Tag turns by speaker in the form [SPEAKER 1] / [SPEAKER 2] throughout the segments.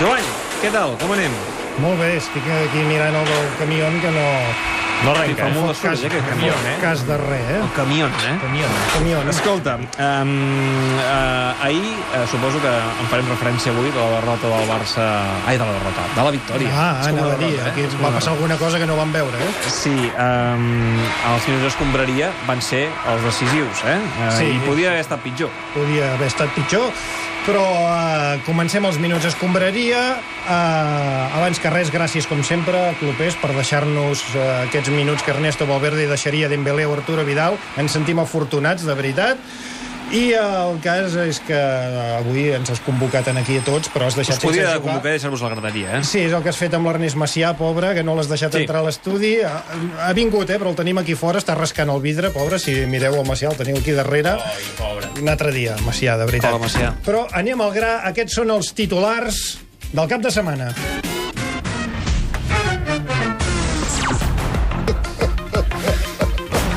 [SPEAKER 1] Joan, què tal? Com anem?
[SPEAKER 2] Molt bé, estic aquí mirant el del camió que no...
[SPEAKER 1] No arrenca, eh?
[SPEAKER 2] no
[SPEAKER 1] Molt de
[SPEAKER 2] fot
[SPEAKER 1] soroll, eh, aquest camió, eh?
[SPEAKER 2] cas de res, eh?
[SPEAKER 1] El camió, eh?
[SPEAKER 2] Camió. Camió.
[SPEAKER 1] Escolta, um, uh, ahir uh, suposo que en farem referència avui de la derrota del Barça... Ai, de la derrota, de la victòria.
[SPEAKER 2] Ah,
[SPEAKER 1] És com una
[SPEAKER 2] anava a dir,
[SPEAKER 1] derrota, eh?
[SPEAKER 2] aquí
[SPEAKER 1] És com
[SPEAKER 2] va
[SPEAKER 1] una
[SPEAKER 2] passar
[SPEAKER 1] derrota.
[SPEAKER 2] alguna cosa que no vam veure, eh?
[SPEAKER 1] Sí, um, els minuts d'escombraria van ser els decisius, eh? Uh,
[SPEAKER 2] Sí.
[SPEAKER 1] I podia haver estat pitjor.
[SPEAKER 2] Podria haver estat pitjor, però eh, comencem els minuts escombraria. Eh, abans que res, gràcies, com sempre, clubers, per deixar-nos eh, aquests minuts que Ernesto Valverde deixaria Dembélé o Arturo Vidal. Ens sentim afortunats, de veritat. I eh, el cas és que eh, avui ens has convocat en aquí a tots, però has deixat...
[SPEAKER 1] Us podia
[SPEAKER 2] sense jugar.
[SPEAKER 1] convocar i deixar-vos la graderia, eh?
[SPEAKER 2] Sí, és el que has fet amb l'Ernest Macià, pobre, que no l'has deixat
[SPEAKER 1] Sí.
[SPEAKER 2] sí. entrar a l'estudi. Ha, ha vingut, eh, però el tenim aquí fora, està rascant el vidre, pobre, si mireu el Macià, el teniu aquí darrere. Ai, pobre. Un altre dia, Macià, de veritat.
[SPEAKER 1] Hola, Macià.
[SPEAKER 2] Però anem al gra, aquests són els titulars del cap de setmana.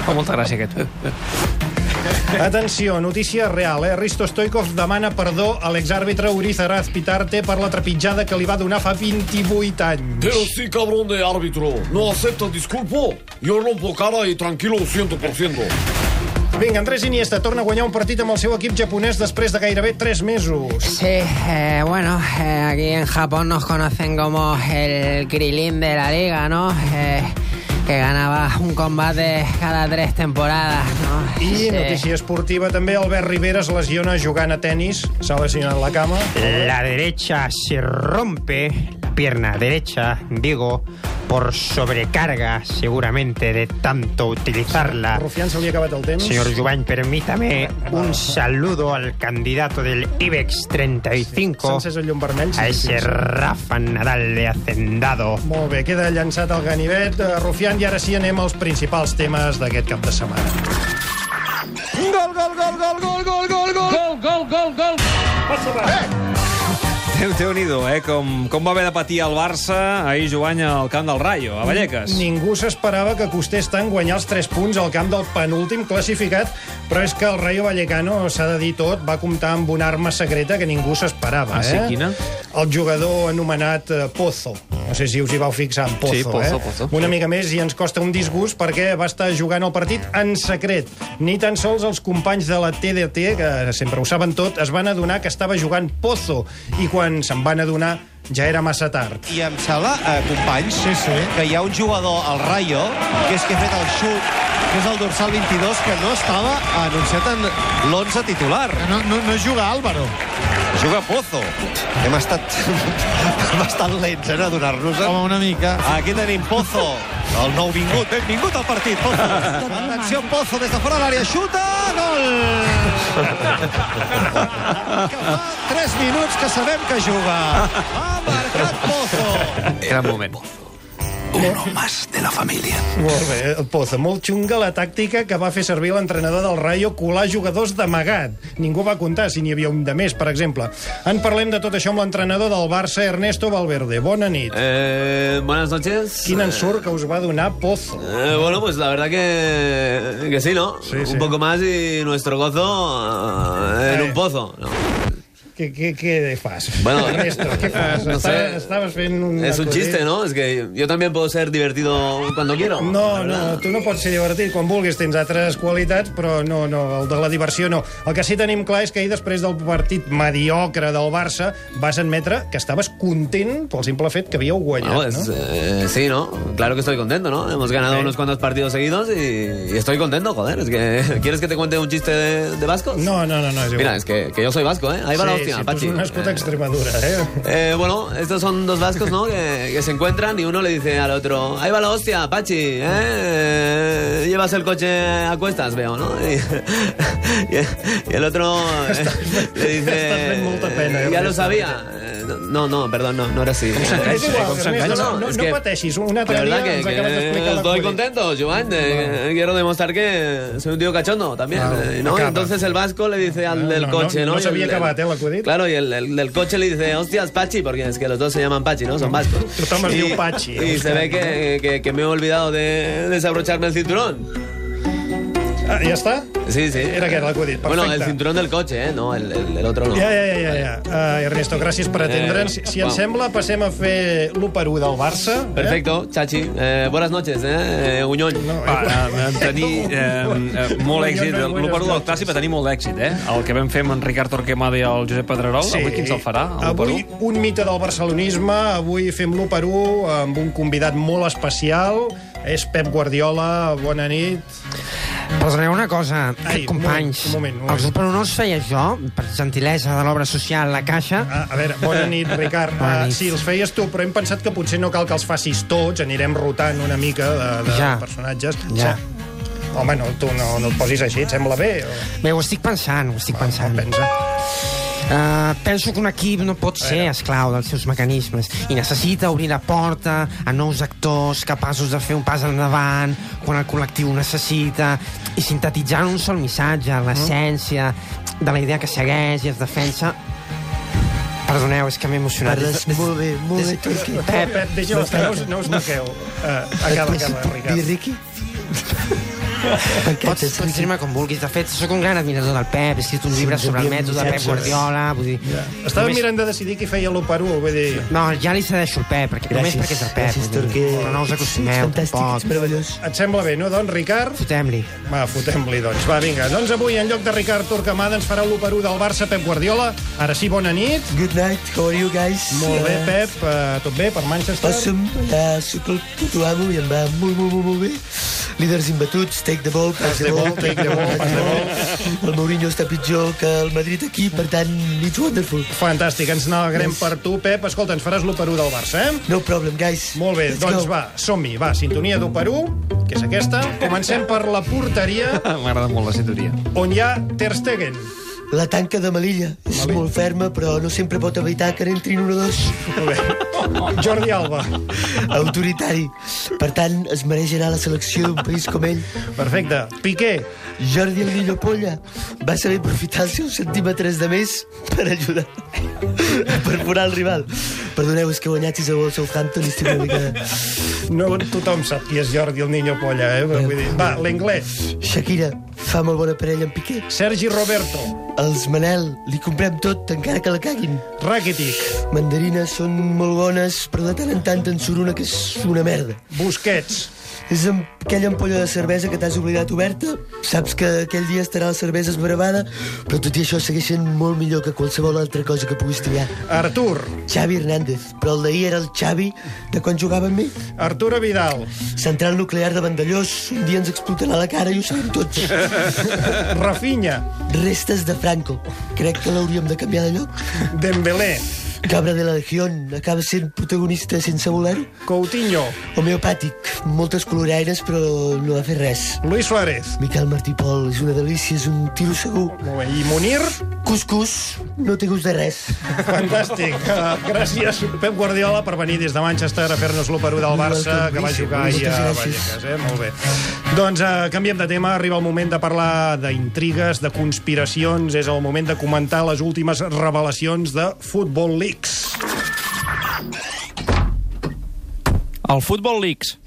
[SPEAKER 1] Fa molta gràcia aquest.
[SPEAKER 2] Atenció, notícia real, eh? Risto Stoikov demana perdó a l'exàrbitre Uriz Araz Pitarte per la trepitjada que li va donar fa 28 anys.
[SPEAKER 3] Pero sí, cabrón de árbitro, no acepta disculpo. Yo rompo cara y tranquilo 100%.
[SPEAKER 2] Vinga, Andrés Iniesta torna a guanyar un partit amb el seu equip japonès després de gairebé 3 mesos.
[SPEAKER 4] Sí, eh, bueno, eh, aquí en Japón nos conocen como el Krilin de la liga, ¿no? Eh, que ganaba un combate cada tres temporadas, ¿no?
[SPEAKER 2] I
[SPEAKER 4] Sí.
[SPEAKER 2] notícia esportiva també, Albert Rivera es lesiona jugant a tennis, s'ha lesionat la cama.
[SPEAKER 3] Eh,
[SPEAKER 5] La derecha se rompe, la pierna derecha, digo, por sobrecarga seguramente de tanto utilizarla.
[SPEAKER 2] Rufián se li ha acabat el temps.
[SPEAKER 5] Señor Jubain, permítame un saludo al candidato del IBEX 35,
[SPEAKER 2] S'ha encès el llum vermell. sí,
[SPEAKER 5] a
[SPEAKER 2] sí,
[SPEAKER 5] ese
[SPEAKER 2] sí.
[SPEAKER 5] Rafa Nadal de Hacendado.
[SPEAKER 2] Molt bé, queda llançat el ganivet, eh, Rufián, i ara sí anem als principals temes d'aquest cap de setmana.
[SPEAKER 1] Déu, déu nhi eh? Com, com va haver de patir el Barça ahir jugant al camp del Rayo, a Vallecas.
[SPEAKER 2] Ningú s'esperava que costés tant guanyar els 3 punts al camp del penúltim classificat, però és que el Rayo Vallecano, s'ha de dir tot, va comptar amb una arma secreta que ningú s'esperava.
[SPEAKER 1] Ah, sí?
[SPEAKER 2] eh?
[SPEAKER 1] Quina?
[SPEAKER 2] El jugador anomenat eh, Pozo. No sé si us hi vau fixar, en Pozo.
[SPEAKER 1] Sí, Pozo,
[SPEAKER 2] eh?
[SPEAKER 1] Pozo.
[SPEAKER 2] Una mica més i ens costa un disgust perquè va estar jugant el partit en secret. Ni tan sols els companys de la TDT, que sempre ho saben tot, es van adonar que estava jugant Pozo i quan se'n van adonar ja era massa tard.
[SPEAKER 6] I em sembla, eh, companys, sí, sí. que hi ha un jugador al Rayo, que és que ha fet el xut, que és el dorsal 22, que no estava anunciat en l'11 titular. No, no, no juga Álvaro. Juga Pozo. Hem estat bastant lents, eh, d'adonar-nos. Home, una mica. Aquí tenim Pozo, el nou vingut. Benvingut al partit, Pozo. Atenció, Pozo, des de fora de l'àrea, xuta, gol! que fa 3 minuts que sabem que juga. Ha marcat Pozo.
[SPEAKER 1] Gran moment.
[SPEAKER 2] Molt bé, el Pozo. Molt xunga la tàctica que va fer servir l'entrenador del Rayo colar jugadors d'amagat. Ningú va comptar si n'hi havia un de més, per exemple. En parlem de tot això amb l'entrenador del Barça, Ernesto Valverde. Bona nit.
[SPEAKER 7] Eh, buenas noches.
[SPEAKER 2] Quin ensurt que us va donar Pozo.
[SPEAKER 7] Eh, bueno, pues la verdad que, que sí, ¿no?
[SPEAKER 2] Sí, sí.
[SPEAKER 7] Un poco más y nuestro gozo eh, en
[SPEAKER 2] Eh.
[SPEAKER 7] un pozo. ¿no?
[SPEAKER 2] Què, què, què fas?
[SPEAKER 7] Bueno, eh,
[SPEAKER 2] Ernesto, què fas?
[SPEAKER 7] no sé.
[SPEAKER 2] Estaves, estaves fent un...
[SPEAKER 7] Es un chiste, ¿no? Es que yo también puedo ser divertido cuando quiero.
[SPEAKER 2] No, no, tu no pots ser divertit quan vulguis, tens altres qualitats, però no, no, el de la diversió no. El que sí que tenim clar és que ahir, després del partit mediocre del Barça, vas admetre que estaves content pel simple fet que havíeu
[SPEAKER 7] Bueno,
[SPEAKER 2] guanyat,
[SPEAKER 7] pues,
[SPEAKER 2] no?
[SPEAKER 7] eh, sí, ¿no? Claro que estoy contento, ¿no? Hemos ganado unos cuantos partidos seguidos y, y estoy contento, joder. Es que, ¿Quieres que te cuente un chiste de, de vascos?
[SPEAKER 2] No, no, no, no, és igual.
[SPEAKER 7] Mira, es que, que yo soy vasco, ¿eh? Ahí va la
[SPEAKER 2] sí,
[SPEAKER 7] hostia,
[SPEAKER 2] sí, tu
[SPEAKER 7] Pachi.
[SPEAKER 2] has nascut a
[SPEAKER 7] Eh,
[SPEAKER 2] Extremadura, eh?
[SPEAKER 7] Eh, bueno, estos son dos vascos, ¿no? Que, que se encuentran y uno le dice al otro, ahí va la hostia, Pachi, ¿eh? Eh, Llevas el coche a cuestas, veo, ¿no? Y, y- y el otro eh, le
[SPEAKER 2] estás
[SPEAKER 7] dice,
[SPEAKER 2] fent molta pena, jo
[SPEAKER 7] ya lo
[SPEAKER 2] crec.
[SPEAKER 7] sabía. Eh, No, no, perdón, no, no era así.
[SPEAKER 2] És igual,
[SPEAKER 1] com
[SPEAKER 2] Ernesto,
[SPEAKER 1] s'enganxa.
[SPEAKER 2] no, no,
[SPEAKER 7] Es
[SPEAKER 2] no
[SPEAKER 7] que-
[SPEAKER 2] pateixis, un
[SPEAKER 7] La
[SPEAKER 2] altre dia
[SPEAKER 7] verdad que,
[SPEAKER 2] ens
[SPEAKER 7] que eh,
[SPEAKER 2] acabes d'explicar la
[SPEAKER 7] estoy contento, Joan. eh, quiero demostrar que soy un tío cachondo también.
[SPEAKER 2] Claro,
[SPEAKER 7] eh, ¿no?
[SPEAKER 2] acaba.
[SPEAKER 7] Entonces el vasco le dice al
[SPEAKER 2] No,
[SPEAKER 7] del
[SPEAKER 2] no,
[SPEAKER 7] coche,
[SPEAKER 2] no,
[SPEAKER 7] ¿no?
[SPEAKER 2] no
[SPEAKER 7] Y
[SPEAKER 2] se había
[SPEAKER 7] el- el-
[SPEAKER 2] acabado, eh, la cuadrilla.
[SPEAKER 7] Claro, y el, el del coche le dice, hostias, Pachi, porque es que los dos se llaman Pachi, ¿no? Son vascos.
[SPEAKER 2] Tothom es
[SPEAKER 7] Y-
[SPEAKER 2] diu Pachi,
[SPEAKER 7] Y
[SPEAKER 2] eh,
[SPEAKER 7] se ve
[SPEAKER 2] Euskadi,
[SPEAKER 7] que, que- que me he olvidado de desabrocharme el cinturón.
[SPEAKER 2] Eh, Ah, ¿Ya está?
[SPEAKER 7] Sí, sí.
[SPEAKER 2] Era que era l'acudit, perfecte.
[SPEAKER 7] Bueno, el cinturón del coche, ¿eh? No, el, el- el otro no. Eh,
[SPEAKER 2] Ja, ja, ja, ja. Uh, Ernesto, gràcies per atendre'ns. Si et
[SPEAKER 7] Vamos.
[SPEAKER 2] sembla, passem a fer l'1 per 1 del Barça.
[SPEAKER 7] Perfecto, Chachi. Eh, buenas noches, ¿eh? eh Uñón.
[SPEAKER 1] Va, eh, tenir eh, eh, molt èxit.
[SPEAKER 2] No, no,
[SPEAKER 1] L'operador del Clàssic va tenir molt d'èxit, eh? El que vam fer amb en Ricard Torquemada i el Josep Pedrerol, sí. avui qui ens el farà? El
[SPEAKER 2] Avui
[SPEAKER 1] Perú?
[SPEAKER 2] un mite del barcelonisme, avui fem l'1 per 1 amb un convidat molt especial, és Pep Guardiola, bona nit.
[SPEAKER 5] Perdoneu Pues una cosa, eh,
[SPEAKER 2] Ai,
[SPEAKER 5] companys.
[SPEAKER 2] un moment, un moment.
[SPEAKER 5] Els dos per un no els feia jo, per gentilesa de l'obra social La Caixa.
[SPEAKER 2] Ah, a veure, bona nit, Ricard.
[SPEAKER 5] Bona
[SPEAKER 2] Ah,
[SPEAKER 5] nit.
[SPEAKER 2] sí, els feies tu, però hem pensat que potser no cal que els facis tots, anirem rotant una mica de, de
[SPEAKER 5] Ja.
[SPEAKER 2] personatges.
[SPEAKER 5] Ja.
[SPEAKER 2] Home, no, tu no, no et posis així, et sembla bé? O...
[SPEAKER 5] Bé, ho estic pensant, ho estic pensant.
[SPEAKER 2] Pensa.
[SPEAKER 5] Uh, penso que un equip no pot ser esclau dels seus mecanismes i necessita obrir la porta a nous actors capaços de fer un pas endavant quan el col·lectiu ho necessita i sintetitzar en un sol missatge l'essència de la idea que segueix i es defensa Perdoneu, és que m'he emocionat.
[SPEAKER 8] Parles molt bé, molt bé, Turqui.
[SPEAKER 2] Pep, Pep, deixeu estar, no us, no us toqueu. Ah, acaba, acaba,
[SPEAKER 8] I
[SPEAKER 2] Ricard.
[SPEAKER 8] Riqui? Perquè
[SPEAKER 5] Pots, pots dir-me com vulguis. De fet, sóc un gran admirador del Pep. He escrit un llibre sobre el mètode de Pep Guardiola. Vull dir,
[SPEAKER 2] Estava
[SPEAKER 5] només-
[SPEAKER 2] mirant de decidir qui feia l'1 per 1, vull dir...
[SPEAKER 5] No, ja li cedeixo el Pep, perquè, només
[SPEAKER 8] Gràcies,
[SPEAKER 5] perquè és el Pep.
[SPEAKER 8] gràcies,
[SPEAKER 5] vull dir,
[SPEAKER 8] Turqui.
[SPEAKER 5] Però no us acostumeu,
[SPEAKER 8] Fantàstic, ets
[SPEAKER 5] tampoc.
[SPEAKER 8] meravellós.
[SPEAKER 2] Et sembla bé, no, doncs, Ricard?
[SPEAKER 5] Fotem-li.
[SPEAKER 2] Va, fotem-li, doncs. Va, vinga. Doncs avui, en lloc de Ricard Torquemada, ens farà l'1 per 1 del Barça, Pep Guardiola. Ara sí, bona nit.
[SPEAKER 8] Good night, how are you guys?
[SPEAKER 2] Molt bé,
[SPEAKER 8] Eh,
[SPEAKER 2] Pep. eh, tot bé per Manchester?
[SPEAKER 8] Awesome, uh, sóc el puto amo i em va molt, molt, molt, molt bé. Líders imbatuts, take the ball, pass the ball,
[SPEAKER 2] take the ball, pass the
[SPEAKER 8] ball. El Mourinho està pitjor que el Madrid aquí, per tant, it's wonderful.
[SPEAKER 2] Fantàstic, ens n'alegrem per tu, Pep. Escolta, ens faràs l'1 per 1 del Barça, eh?
[SPEAKER 8] No problem, guys.
[SPEAKER 2] Molt bé,
[SPEAKER 8] Let's
[SPEAKER 2] doncs
[SPEAKER 8] go.
[SPEAKER 2] va, som-hi. Va, sintonia d'1 per 1, que és aquesta. Comencem per la porteria,
[SPEAKER 1] M'agrada Ah, molt la sintonia.
[SPEAKER 2] on hi ha Ter Stegen.
[SPEAKER 8] La tanca de Melilla és molt ferma, però no sempre pot evitar que n'entrin un o dos.
[SPEAKER 2] Molt bé. Jordi Alba.
[SPEAKER 8] Autoritari. Per tant, es mereix anar a la selecció d'un país com ell.
[SPEAKER 2] Perfecte. Piqué.
[SPEAKER 8] Jordi el Nillo Polla va saber aprofitar els seus centímetres de més per ajudar a perforar el rival. Perdoneu, és que he guanyat 6 a 1 al Southampton i estic una mica...
[SPEAKER 2] No tothom sap qui és Jordi el Niño Polla, eh? Vull dir, va, l'anglès.
[SPEAKER 8] Shakira fa molt bona parella amb Piqué.
[SPEAKER 2] Sergi Roberto.
[SPEAKER 8] Els Manel li comprem tot, encara que la caguin.
[SPEAKER 2] Rakitic.
[SPEAKER 8] Mandarines són molt bones, però de tant en tant en surt una que és una merda.
[SPEAKER 2] Busquets.
[SPEAKER 8] És amb aquella ampolla de cervesa que t'has oblidat oberta. Saps que aquell dia estarà la cervesa esbravada, però tot i això segueix sent molt millor que qualsevol altra cosa que puguis triar.
[SPEAKER 2] Artur.
[SPEAKER 8] Xavi Hernández, però el d'ahir era el Xavi de quan jugava amb mi.
[SPEAKER 2] Arturo Vidal.
[SPEAKER 8] Central nuclear de Vandellós, un dia ens explotarà la cara i ho sabem tots.
[SPEAKER 2] Rafinha.
[SPEAKER 8] Restes de Franco, crec que l'hauríem de canviar de lloc.
[SPEAKER 2] Dembélé.
[SPEAKER 8] Cabra de la Legión, acaba sent protagonista sense voler-ho.
[SPEAKER 2] Coutinho.
[SPEAKER 8] Homeopàtic, moltes coloraines, però no va fer res.
[SPEAKER 2] Luis Suárez.
[SPEAKER 8] Miquel Martí Pol és una delícia, és un tiro segur.
[SPEAKER 2] Molt bé. I Munir.
[SPEAKER 8] Cuscús, no té gust de res.
[SPEAKER 2] Fantàstic. Uh, gràcies, Pep Guardiola, per venir des de Manchester a fer-nos l'1 per 1 del Barça, que va jugar ahir a
[SPEAKER 8] Moltes gràcies.
[SPEAKER 2] Vallecas. Eh? Molt bé. Doncs uh, canviem de tema. Arriba el moment de parlar d'intrigues, de conspiracions. És el moment de comentar les últimes revelacions de Football Leaks.
[SPEAKER 9] El Futbol Leaks.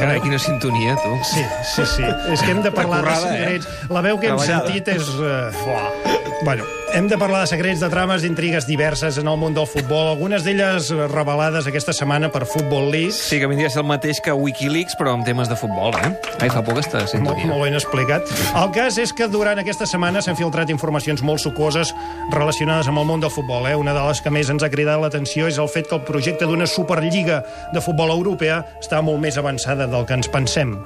[SPEAKER 1] Carai, quina sintonia, tu.
[SPEAKER 2] Sí, sí, sí. És que hem de parlar de
[SPEAKER 1] currada, eh?
[SPEAKER 2] secrets. Eh? La veu que hem sentit és... Uh, bueno, hem de parlar de secrets, de trames, d'intrigues diverses en el món del futbol, algunes d'elles eh, revelades aquesta setmana per Football League.
[SPEAKER 1] Sí, que vindria a ser el mateix que Wikileaks, però amb temes de futbol, eh? Ai, fa poc aquesta
[SPEAKER 2] Molt,
[SPEAKER 1] sintonia.
[SPEAKER 2] molt ben explicat. El cas és que durant aquesta setmana s'han filtrat informacions molt sucoses relacionades amb el món del futbol. Eh? Una de les que més ens ha cridat l'atenció és el fet que el projecte d'una Superliga de futbol europea està molt més avançada del que ens pensem.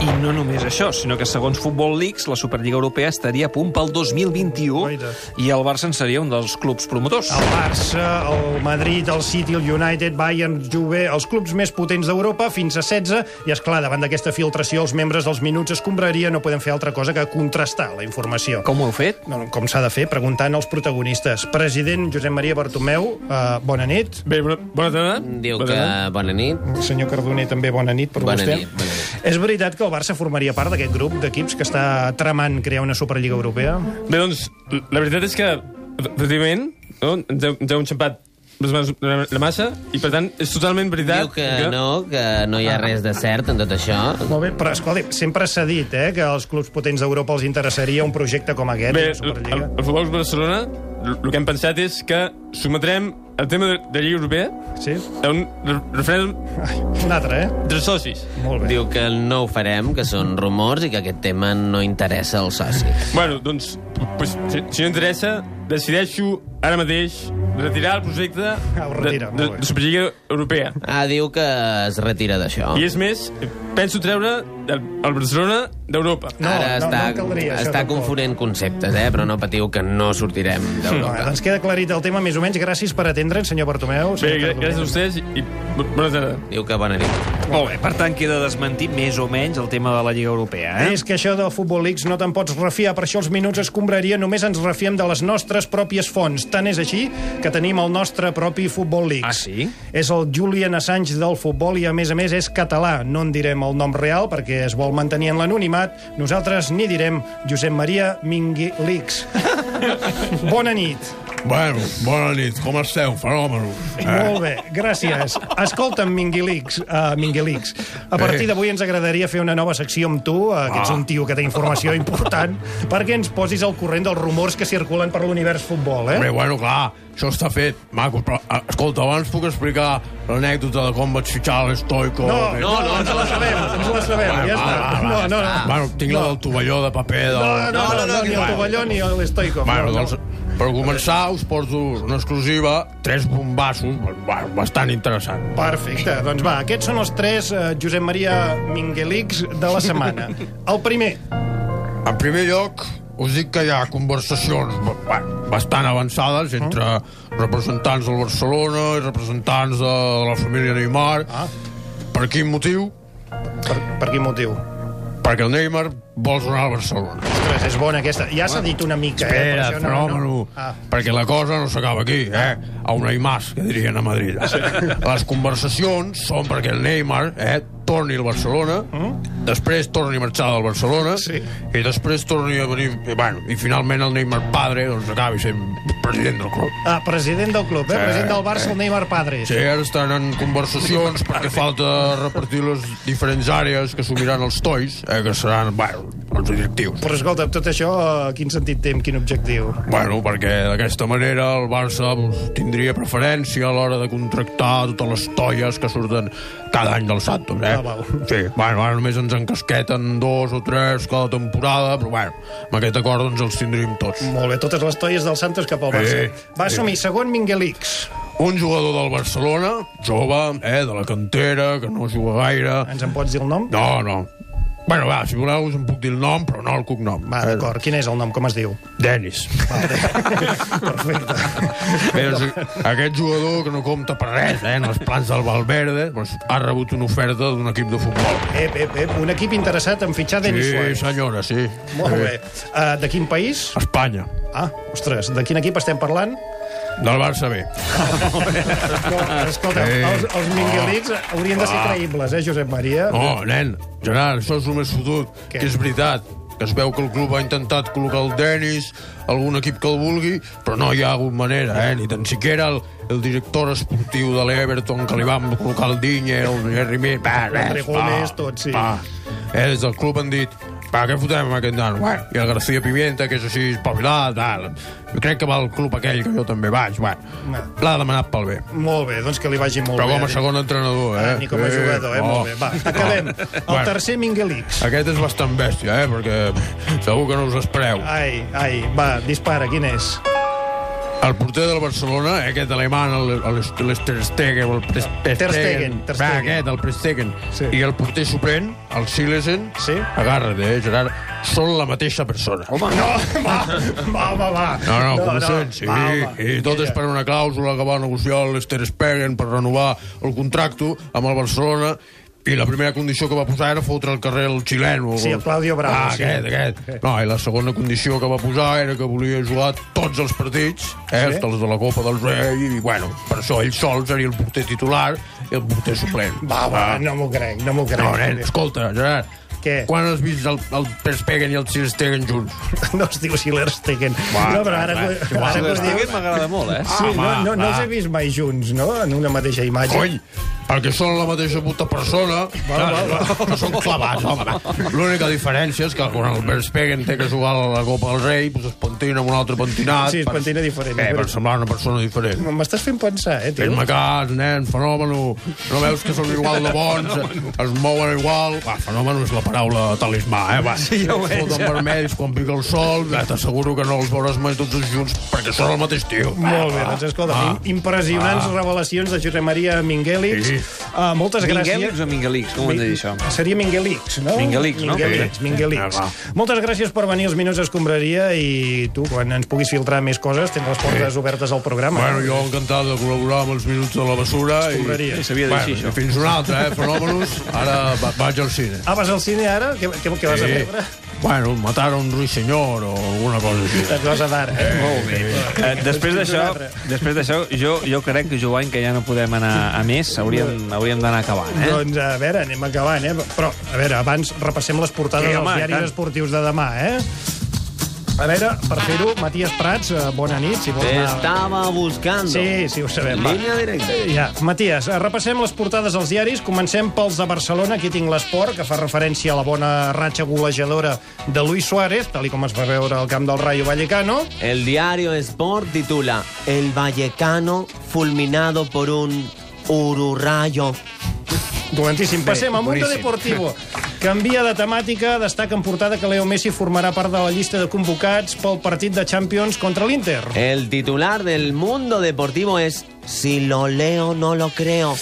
[SPEAKER 9] I no només això, sinó que segons Futbol Leaks, la Superliga Europea estaria a punt pel 2021
[SPEAKER 2] Guaita.
[SPEAKER 9] i el Barça en seria un dels clubs promotors.
[SPEAKER 2] El Barça, el Madrid, el City, el United, Bayern, Juve, els clubs més potents d'Europa, fins a 16, i és clar, davant d'aquesta filtració, els membres dels Minuts Escombraria no poden fer altra cosa que contrastar la informació.
[SPEAKER 9] Com ho heu fet?
[SPEAKER 2] No, no, com s'ha de fer, preguntant als protagonistes. President Josep Maria Bartomeu, eh, bona nit.
[SPEAKER 10] Bé, bona, bona tarda.
[SPEAKER 7] Diu
[SPEAKER 2] Pues
[SPEAKER 10] bona
[SPEAKER 7] que
[SPEAKER 10] tarda.
[SPEAKER 7] bona nit.
[SPEAKER 2] Senyor Cardoner, també bona nit per
[SPEAKER 7] Bona
[SPEAKER 2] vostè.
[SPEAKER 7] nit, bona nit.
[SPEAKER 2] És veritat que el Barça formaria part d'aquest grup d'equips que està tramant crear una Superliga Europea?
[SPEAKER 10] Bé, doncs, la veritat és que, efectivament, no, ens heu, ens heu enxampat la massa, i per tant, és totalment veritat Ah.
[SPEAKER 7] Diu que no, que no hi ha res de cert en tot això.
[SPEAKER 2] Molt bé, però escolti, sempre s'ha dit eh, que als clubs potents d'Europa els interessaria un projecte com aquest.
[SPEAKER 10] Bé,
[SPEAKER 2] la Superliga.
[SPEAKER 10] el, el Futbol Club Barcelona, el el que hem pensat és que sotmetrem el tema de, de Lliga Europea
[SPEAKER 2] Sí?
[SPEAKER 10] a un re- referèndum
[SPEAKER 2] Un altre, eh?
[SPEAKER 10] entre socis.
[SPEAKER 2] Molt bé.
[SPEAKER 7] Diu que no ho farem, que són rumors i que aquest tema no interessa als socis.
[SPEAKER 10] Bueno, doncs, pues, si, si no interessa, decideixo ara mateix retirar el projecte
[SPEAKER 2] Ah, ho retira,
[SPEAKER 10] de,
[SPEAKER 2] molt
[SPEAKER 10] de,
[SPEAKER 2] bé.
[SPEAKER 10] de Superliga Europea.
[SPEAKER 7] Ah, diu que es retira d'això.
[SPEAKER 10] I és més, penso treure el, el Barcelona d'Europa.
[SPEAKER 2] No,
[SPEAKER 7] Ara
[SPEAKER 2] no,
[SPEAKER 7] està,
[SPEAKER 2] no caldria, això
[SPEAKER 7] està
[SPEAKER 2] tampoc.
[SPEAKER 7] confonent conceptes, eh? però no patiu que no sortirem
[SPEAKER 2] Bé,
[SPEAKER 7] d'Europa.
[SPEAKER 2] doncs queda aclarit el tema, més o menys. Gràcies per atendre'ns, senyor Bartomeu.
[SPEAKER 10] Bé,
[SPEAKER 2] senyor
[SPEAKER 10] gra-
[SPEAKER 2] Cardonell.
[SPEAKER 10] gràcies a vostès i bo- bona tarda.
[SPEAKER 7] Diu que bona nit.
[SPEAKER 9] Molt bé, per tant, queda desmentit més o menys el tema de la Lliga Europea, eh?
[SPEAKER 2] És que això del Futbol Leaks no te'n pots refiar, per això els minuts escombraria, només ens refiem de les nostres pròpies fonts. Tant és així que tenim el nostre propi Futbol Leaks.
[SPEAKER 9] Ah, sí?
[SPEAKER 2] És el Julian Assange del futbol i, a més a més, és català. No en direm el nom real perquè es vol mantenir en l'anonimat. Nosaltres ni direm Josep Maria Mingui Leaks. Bona nit.
[SPEAKER 3] Bueno, bona nit, com esteu, fenòmenos?
[SPEAKER 2] Molt bé, gràcies. Escolta'm, Minguilix, uh, Minguilix. A partir d'avui ens agradaria fer una nova secció amb tu, uh, que ets un tio que té informació important, perquè ens posis al corrent dels rumors que circulen per l'univers futbol,
[SPEAKER 3] Bé,
[SPEAKER 2] eh?
[SPEAKER 3] bueno, clar, això està fet, maco, però, eh, escolta, abans puc explicar l'anècdota de com vaig fitxar l'Estoico?
[SPEAKER 2] No, no, no, ens la sabem, ens la sabem, ja està. No, no, no.
[SPEAKER 3] Bueno, tinc la del tovalló de paper de...
[SPEAKER 2] No, no, no, no, ni el tovalló ni l'estoico.
[SPEAKER 3] Bueno,
[SPEAKER 2] No, no.
[SPEAKER 3] doncs, per començar, us porto una exclusiva, tres bombassos, bueno, bastant interessant.
[SPEAKER 2] Perfecte, doncs va, aquests són els tres eh, Josep Maria Minguelix de la setmana. El primer,
[SPEAKER 3] En primer lloc, us dic que hi ha conversacions ba- ba- bastant avançades entre representants del Barcelona i representants de la família Neymar.
[SPEAKER 2] Ah.
[SPEAKER 3] Per quin motiu?
[SPEAKER 2] per, per quin motiu?
[SPEAKER 3] Perquè el Neymar vol donar al Barcelona.
[SPEAKER 2] Ostres, és bona aquesta. Ja s'ha dit una mica, eh? per
[SPEAKER 3] Espera,
[SPEAKER 2] això
[SPEAKER 3] fenòmeno.
[SPEAKER 2] Ah.
[SPEAKER 3] Perquè la cosa no s'acaba aquí, eh? A un Neymar, que dirien a Madrid. Les conversacions són perquè el Neymar eh, torni al Barcelona, després torni a marxar del Barcelona,
[SPEAKER 2] Mm? Sí.
[SPEAKER 3] i després torni a venir... I, bueno, i finalment el Neymar padre doncs, acabi sent president del club.
[SPEAKER 2] Ah, president del club, eh?
[SPEAKER 3] Sí.
[SPEAKER 2] President del Barça, el Neymar Padres.
[SPEAKER 3] Sí, ara estan en conversacions perquè falta repartir les diferents àrees que assumiran els tois, eh, que seran, bueno, els directius.
[SPEAKER 2] Però escolta, tot això, eh, quin sentit té, amb quin objectiu?
[SPEAKER 3] Bueno, perquè d'aquesta manera el Barça doncs, tindria preferència a l'hora de contractar totes les toies que surten cada any del Santos, eh?
[SPEAKER 2] Ah, val.
[SPEAKER 3] sí, bueno, ara només ens encasqueten dos o tres cada temporada, però bueno, amb aquest acord doncs els tindríem tots.
[SPEAKER 2] Molt bé, totes les toies del Santos cap al Barça.
[SPEAKER 3] Eh,
[SPEAKER 2] Va
[SPEAKER 3] eh.
[SPEAKER 2] assumir segon Minguelix.
[SPEAKER 3] Un jugador del Barcelona, jove, eh, de la cantera, que no juga gaire...
[SPEAKER 2] Ens en pots dir el nom?
[SPEAKER 3] No, no. Bueno, va, si voleu us en puc dir el nom, però no el cognom.
[SPEAKER 2] Va, d'acord. Quin és el nom? Com es diu?
[SPEAKER 3] Denis.
[SPEAKER 2] Perfecte.
[SPEAKER 3] Bé, doncs, aquest jugador que no compta per res, eh, en els plans del Valverde, doncs, ha rebut una oferta d'un equip de futbol.
[SPEAKER 2] Ep, ep, ep. Un equip interessat en fitxar Denis
[SPEAKER 3] Sí,
[SPEAKER 2] Suárez.
[SPEAKER 3] senyora, sí.
[SPEAKER 2] Molt
[SPEAKER 3] Sí.
[SPEAKER 2] bé. Uh, de quin país?
[SPEAKER 3] Espanya.
[SPEAKER 2] Ah, ostres, de quin equip estem parlant?
[SPEAKER 3] Del Barça B.
[SPEAKER 2] No, escolta,
[SPEAKER 3] Eh.
[SPEAKER 2] els, els Minguelix haurien de ser
[SPEAKER 3] Ah. Oh,
[SPEAKER 2] creïbles, eh, Josep Maria?
[SPEAKER 3] No, nen, Gerard, això és el més fotut,
[SPEAKER 2] Què?
[SPEAKER 3] que és veritat que es veu que el club ha intentat col·locar el Denis, algun equip que el vulgui, però no hi ha hagut manera, eh? Ni tan siquiera el, el director esportiu de l'Everton, que li van col·locar el Dinyer, el Jerry Mir... Va, res,
[SPEAKER 2] Regoles, tot, sí.
[SPEAKER 3] eh, Va. Eh, des del club han dit va, què fotem amb aquest nano? Bueno, I el García Pimienta, que és així espavilat, tal. Jo crec que va al club aquell, que jo també vaig. Bueno,
[SPEAKER 2] No.
[SPEAKER 3] l'ha demanat pel bé.
[SPEAKER 2] Molt bé, doncs que li vagi molt
[SPEAKER 3] Però
[SPEAKER 2] bé.
[SPEAKER 3] com a segon entrenador, eh? oh.
[SPEAKER 2] Ni com a jugador, eh? Molt bé. Va, acabem. El tercer Minguelix.
[SPEAKER 3] Aquest és bastant bèstia, eh? Perquè segur que no us espereu.
[SPEAKER 2] Ai, ai, va, dispara, quin és?
[SPEAKER 3] El porter del Barcelona, eh, aquest alemany, el, el, el Ter Stegen, el Ter,
[SPEAKER 2] Ter Stegen, Ter
[SPEAKER 3] Va,
[SPEAKER 2] Stegen.
[SPEAKER 3] aquest, el Ter Stegen.
[SPEAKER 2] Sí.
[SPEAKER 3] I el porter suplent, el Silesen,
[SPEAKER 2] Sí.
[SPEAKER 3] agarra't, eh, Gerard, són la mateixa persona. Home, no!
[SPEAKER 2] Va, va, va, va.
[SPEAKER 3] No, no, coneixents, sí, i, i tot és per una clàusula que va negociar l'Ester Stegen per renovar el contracte amb el Barcelona i la primera condició que va posar era fotre al carrer el xileno.
[SPEAKER 2] Sí, el Claudio Bravo,
[SPEAKER 3] Ah,
[SPEAKER 2] sí.
[SPEAKER 3] aquest, aquest. No, i la segona condició que va posar era que volia jugar tots els partits, eh,
[SPEAKER 2] Sí?
[SPEAKER 3] sí? els de la Copa del Rei, i, bueno, per això ell sol seria el porter titular i el porter suplent. Ah.
[SPEAKER 2] Va, va, no m'ho crec, no m'ho crec.
[SPEAKER 3] No, nen, escolta, Gerard,
[SPEAKER 2] Què?
[SPEAKER 3] Quan has vist el, el Ter Stegen i el Ter Stegen junts?
[SPEAKER 2] No es diu Schiller Stegen. no, però ara... que- ara que ho dius-
[SPEAKER 3] m'agrada molt,
[SPEAKER 2] Sí, no, no, no els he vist mai junts, no?, en una mateixa imatge.
[SPEAKER 3] Cony, perquè són la mateixa puta persona, saps? Ah, no, no són clavats, home. L'única diferència és que quan el Verspegen té que jugar a la Copa del Rei, doncs es pentina amb un altre pentinat.
[SPEAKER 2] Sí, es pentina diferent,
[SPEAKER 3] Bé,
[SPEAKER 2] és
[SPEAKER 3] Ah, per Eh,
[SPEAKER 2] veritat.
[SPEAKER 3] semblar una persona diferent.
[SPEAKER 2] M'estàs fent pensar, eh, tio?
[SPEAKER 3] Fes-me cas, nen, fenòmeno. No veus que són igual de bons, es mouen igual... Va, fenòmeno és la paraula talismà, eh, va. Sí,
[SPEAKER 9] ja ho veig.
[SPEAKER 3] Foten vermells quan pica el sol, ja t'asseguro que no els veuràs mai tots junts perquè són el mateix tio.
[SPEAKER 2] Molt bé, doncs escolta,
[SPEAKER 3] Ah.
[SPEAKER 2] impressionants
[SPEAKER 3] Ah.
[SPEAKER 2] revelacions de Josep Maria Minguelix.
[SPEAKER 9] Sí.
[SPEAKER 2] Uh, moltes gràcies.
[SPEAKER 9] Minguelix o Minguelix? Com ho hem de dir, això?
[SPEAKER 2] Seria Minguelix, no?
[SPEAKER 9] Minguelix, no?
[SPEAKER 2] Minguelix,
[SPEAKER 9] Sí.
[SPEAKER 2] Minguelix.
[SPEAKER 9] Ah,
[SPEAKER 2] Moltes gràcies per venir als Minuts Escombraria i tu, quan ens puguis filtrar més coses, tens les portes obertes al programa. eh?
[SPEAKER 3] Bueno, jo encantat de col·laborar amb els Minuts de la Bessura.
[SPEAKER 2] Escombraria.
[SPEAKER 3] I,
[SPEAKER 2] S'havia de dir
[SPEAKER 3] bueno,
[SPEAKER 2] així, això.
[SPEAKER 3] i Fins una altra, eh? Fenòmenos. Ara va, vaig al cine.
[SPEAKER 2] Ah, vas al cine ara? Què, què, què vas a
[SPEAKER 3] Sí.
[SPEAKER 2] veure?
[SPEAKER 3] Bueno, matar un ruissenyor o alguna cosa així.
[SPEAKER 2] Et vas a d'ara. Eh?
[SPEAKER 9] Molt bé. Eh, després d'això, després d'això, jo, jo crec que, Joan, que ja no podem anar a més. Hauríem, hauríem d'anar acabant, eh?
[SPEAKER 2] Doncs, a veure, anem acabant, eh? Però, a veure, abans repassem les portades
[SPEAKER 9] Sí,
[SPEAKER 2] sí,
[SPEAKER 9] home,
[SPEAKER 2] dels diaris
[SPEAKER 9] tant.
[SPEAKER 2] esportius de demà, eh? A veure, per fer-ho, Matías Prats, eh, bona nit, si vols anar...
[SPEAKER 7] Estaba buscando.
[SPEAKER 2] Sí, sí, ho sabem. va.
[SPEAKER 7] Línia directa.
[SPEAKER 2] Ja. Matías, eh, repassem les portades als diaris. Comencem pels de Barcelona. Aquí tinc l'esport, que fa referència a la bona ratxa golejadora de Luis Suárez, tal i com es va veure al camp del Rayo Vallecano.
[SPEAKER 7] El diario Sport titula El Vallecano fulminado por un ururrayo.
[SPEAKER 2] Dolentíssim. Passem a Mundo Deportivo. Canvia de temàtica, destaca en portada que Leo Messi formarà part de la llista de convocats pel partit de Champions contra l'Inter.
[SPEAKER 7] El titular del mundo deportivo es Si lo leo, no lo creo.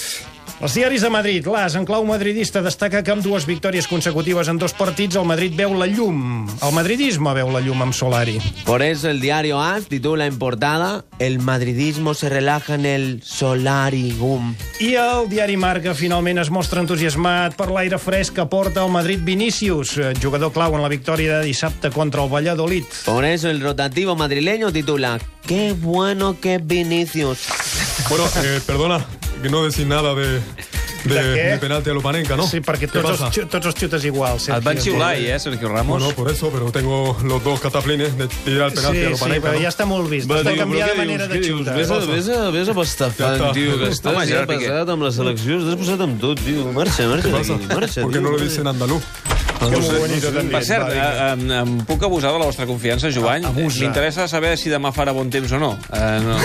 [SPEAKER 2] Els diaris de Madrid. L'AS, en clau madridista, destaca que amb dues victòries consecutives en dos partits el Madrid veu la llum. El madridisme veu la llum amb Solari.
[SPEAKER 7] Por eso el diario AS titula en portada El madridismo se relaja en el solarium.
[SPEAKER 2] I el diari Marca finalment es mostra entusiasmat per l'aire fresc que porta el Madrid Vinícius, eh, jugador clau en la victòria de dissabte contra el Valladolid.
[SPEAKER 7] Por eso el rotativo madrileño titula Qué bueno que es Vinicius.
[SPEAKER 11] Bueno, eh, perdona que no decís nada de, de,
[SPEAKER 2] ¿De qué?
[SPEAKER 11] de penalti a Lupanenka, ¿no?
[SPEAKER 2] Sí, perquè
[SPEAKER 11] ¿Qué
[SPEAKER 2] tots els,
[SPEAKER 11] pasa?
[SPEAKER 2] xu- tots els xutes igual.
[SPEAKER 9] Et van xiular ahir, eh, Sergio Ramos?
[SPEAKER 11] Bueno, por eso, pero tengo los dos cataplines de tirar el penalti
[SPEAKER 2] Sí,
[SPEAKER 11] a
[SPEAKER 2] sí,
[SPEAKER 11] Lupanenka.
[SPEAKER 2] però
[SPEAKER 11] ¿no?
[SPEAKER 2] ja està molt vist.
[SPEAKER 11] Va,
[SPEAKER 2] Has de
[SPEAKER 11] digo,
[SPEAKER 2] canviar
[SPEAKER 11] però
[SPEAKER 2] de
[SPEAKER 11] què
[SPEAKER 2] manera
[SPEAKER 11] dius?
[SPEAKER 2] de
[SPEAKER 11] Què dius?
[SPEAKER 2] xutar.
[SPEAKER 11] Ves a- ves
[SPEAKER 7] a, ves a
[SPEAKER 11] Ja
[SPEAKER 7] pastafant,
[SPEAKER 11] està. tio, que estàs
[SPEAKER 9] Home, Gerard Piqué.
[SPEAKER 7] passat amb la selecció, estàs passat amb tot, tio. Marxa, marxa d'aquí, marxa,
[SPEAKER 11] ¿Por qué no lo dicen andaluz? No sé.
[SPEAKER 9] Per cert, eh, em, em puc abusar de la vostra confiança, Joan?
[SPEAKER 2] Abusa.
[SPEAKER 9] M'interessa saber si demà farà bon temps o no. Eh, no.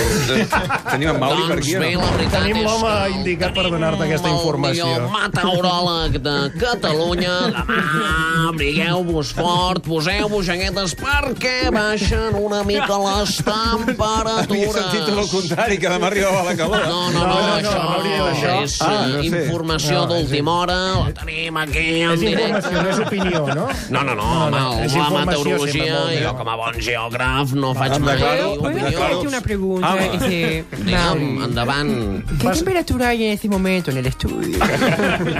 [SPEAKER 9] Tenim en Mauri per
[SPEAKER 12] Doncs
[SPEAKER 9] aquí o no?
[SPEAKER 13] veritat
[SPEAKER 2] Tenim l'home indicat per donar-te aquesta informació.
[SPEAKER 13] meteoròleg de Catalunya. Demà, abrigueu-vos fort, poseu-vos jaquetes perquè baixen una mica les
[SPEAKER 9] Havia sentit tot el
[SPEAKER 13] temperatures.
[SPEAKER 9] contrari, que demà arribava la calor.
[SPEAKER 13] No, no, no, no,
[SPEAKER 2] no, no, no,
[SPEAKER 13] això, no, això
[SPEAKER 2] no,
[SPEAKER 13] és
[SPEAKER 2] no,
[SPEAKER 13] ah,
[SPEAKER 2] no, no sé.
[SPEAKER 13] informació
[SPEAKER 2] No, és
[SPEAKER 13] d'última hora, la tenim aquí en
[SPEAKER 2] És
[SPEAKER 13] directe.
[SPEAKER 2] informació, no és opinió, no?
[SPEAKER 13] No, no, no, home,
[SPEAKER 2] és
[SPEAKER 13] la
[SPEAKER 2] informació, sí,
[SPEAKER 13] meteorologia,
[SPEAKER 2] va molt bé.
[SPEAKER 13] jo com a bon geògraf no faig mai
[SPEAKER 9] declaro-
[SPEAKER 13] opinió.
[SPEAKER 9] me declaro-
[SPEAKER 12] Una pregunta.
[SPEAKER 9] Ah,
[SPEAKER 12] este,
[SPEAKER 13] Digue'm,
[SPEAKER 12] Nam,
[SPEAKER 13] endavant.
[SPEAKER 12] ¿Qué temperatura hay en este momento en el estudio?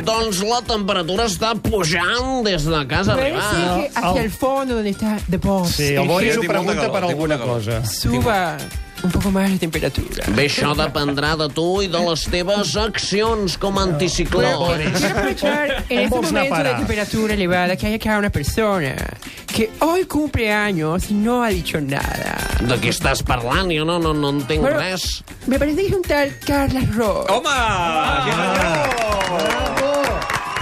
[SPEAKER 13] Doncs la temperatura està pujant des de casa
[SPEAKER 12] Parece
[SPEAKER 13] arribat.
[SPEAKER 12] que hacia el fondo donde está The Boss.
[SPEAKER 2] Sí, el
[SPEAKER 12] eh,
[SPEAKER 2] Boris
[SPEAKER 9] Sí,
[SPEAKER 2] ho
[SPEAKER 9] tinc molta
[SPEAKER 2] pregunta
[SPEAKER 9] calor,
[SPEAKER 2] per
[SPEAKER 9] tinc
[SPEAKER 2] alguna
[SPEAKER 9] molta
[SPEAKER 2] cosa.
[SPEAKER 12] Suba un poco más la temperatura.
[SPEAKER 13] Bé, això dependrà de tu i de les teves accions com a anticicló.
[SPEAKER 12] Quiero aprovechar en
[SPEAKER 2] Un
[SPEAKER 12] este
[SPEAKER 2] box no
[SPEAKER 12] momento de
[SPEAKER 2] para.
[SPEAKER 12] temperatura elevada que hay acá una persona que hoy cumple años y no ha dicho nada.
[SPEAKER 13] De què estàs parlant? Jo no, no, no entenc
[SPEAKER 12] Bueno,
[SPEAKER 13] res.
[SPEAKER 12] me parece que es un tal Carla Ross.
[SPEAKER 9] Home!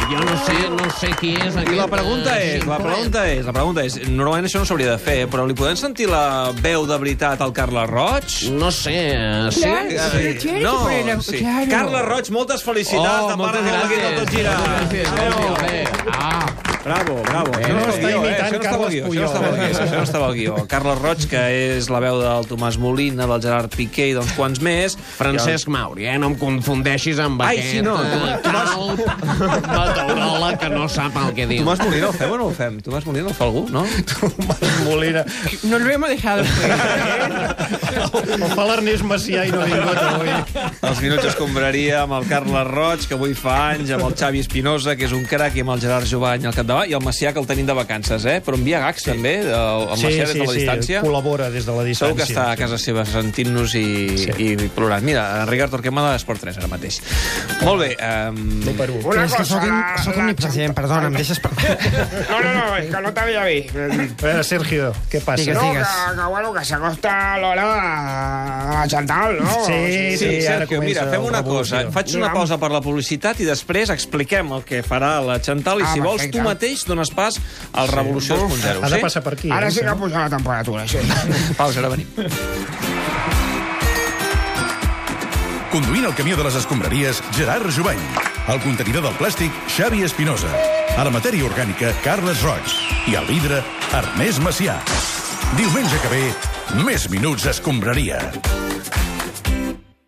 [SPEAKER 13] Jo no sé, no sé qui és
[SPEAKER 9] I
[SPEAKER 13] aquest.
[SPEAKER 9] la pregunta
[SPEAKER 13] eh,
[SPEAKER 9] és, la
[SPEAKER 13] ximple.
[SPEAKER 9] pregunta és, la pregunta és, normalment això no s'hauria de fer, però li podem sentir la veu de veritat al Carles Roig? Ah,
[SPEAKER 13] No sé, eh, sí?
[SPEAKER 12] Claro, pero tiene que
[SPEAKER 9] No,
[SPEAKER 12] poner la-
[SPEAKER 9] sí.
[SPEAKER 12] claro.
[SPEAKER 9] Carles Roig, moltes felicitats
[SPEAKER 13] Oh,
[SPEAKER 9] de part
[SPEAKER 13] moltes
[SPEAKER 9] de l'equip del Tot Gira.
[SPEAKER 13] Gràcies,
[SPEAKER 9] Adéu.
[SPEAKER 13] gràcies. Ah,
[SPEAKER 9] Bravo,
[SPEAKER 2] no
[SPEAKER 9] bravo.
[SPEAKER 2] està
[SPEAKER 9] estava al guió, eh?
[SPEAKER 2] imitant
[SPEAKER 9] Això no estava al
[SPEAKER 2] Carles
[SPEAKER 9] guió, Això no
[SPEAKER 13] eh.
[SPEAKER 9] estava al guió, això no estava al guió. Carles Roig, que és la veu del Tomàs Molina, del Gerard Piqué i d'uns quants més.
[SPEAKER 13] Francesc Mauri, eh? No em confundeixis amb
[SPEAKER 9] Ai,
[SPEAKER 13] aquest...
[SPEAKER 9] sí, no,
[SPEAKER 13] eh, Calp, meteoròleg que no sap el que
[SPEAKER 9] I el-
[SPEAKER 13] diu.
[SPEAKER 9] Tomàs Molina el fem o no el fem? Tomàs Molina el fa algú, no?
[SPEAKER 2] Molina.
[SPEAKER 12] Nos lo hemos dejado.
[SPEAKER 2] El fa l'Ernest Macià i no ha vingut avui.
[SPEAKER 9] Els minuts escombraria amb el Carles Roig, que avui fa anys, amb el Xavi Espinosa, que és un crac, i amb el Gerard Jovany al capdavant endavant, i el Macià, que el tenim de vacances, eh? Però envia gags, sí. també, el, el
[SPEAKER 2] Sí,
[SPEAKER 9] Macià des
[SPEAKER 2] sí,
[SPEAKER 9] de la
[SPEAKER 2] sí,
[SPEAKER 9] distància.
[SPEAKER 2] col·labora des de la
[SPEAKER 9] Segur que
[SPEAKER 2] distància.
[SPEAKER 9] està a casa seva sentint-nos i, sí. i plorant. Mira, en Ricard Torquemada d'Esport 3 ara mateix. Molt bé. Um... No per un.
[SPEAKER 5] Una és que soc, im- soc omnipresent, perdona, em deixes... Per...
[SPEAKER 14] No, no, no, es que no te había visto.
[SPEAKER 2] A veure, Sergio, què passa?
[SPEAKER 14] no, Que, que, bueno, que s'acosta l'hora de, de Chantal, no?
[SPEAKER 9] sí, sí, Sergio, mira, fem una cosa. Faig una
[SPEAKER 14] Digue'm.
[SPEAKER 9] pausa per la publicitat i després expliquem el que farà la Chantal i,
[SPEAKER 14] Ah,
[SPEAKER 9] si vols,
[SPEAKER 14] perfecte.
[SPEAKER 9] tu mateix dones pas al Revolució 2.0.
[SPEAKER 14] Uf,
[SPEAKER 9] sí?
[SPEAKER 2] eh?
[SPEAKER 14] Ara sí que ha pujat la temperatura, sí.
[SPEAKER 9] Pausa, ara venim.
[SPEAKER 15] Conduint el camió de les escombraries, Gerard Jubany. El contenidor del plàstic, Xavi Espinosa. A la matèria orgànica, Carles Roig. I al vidre, Ernest Macià. Diumenge que ve, més minuts escombraria.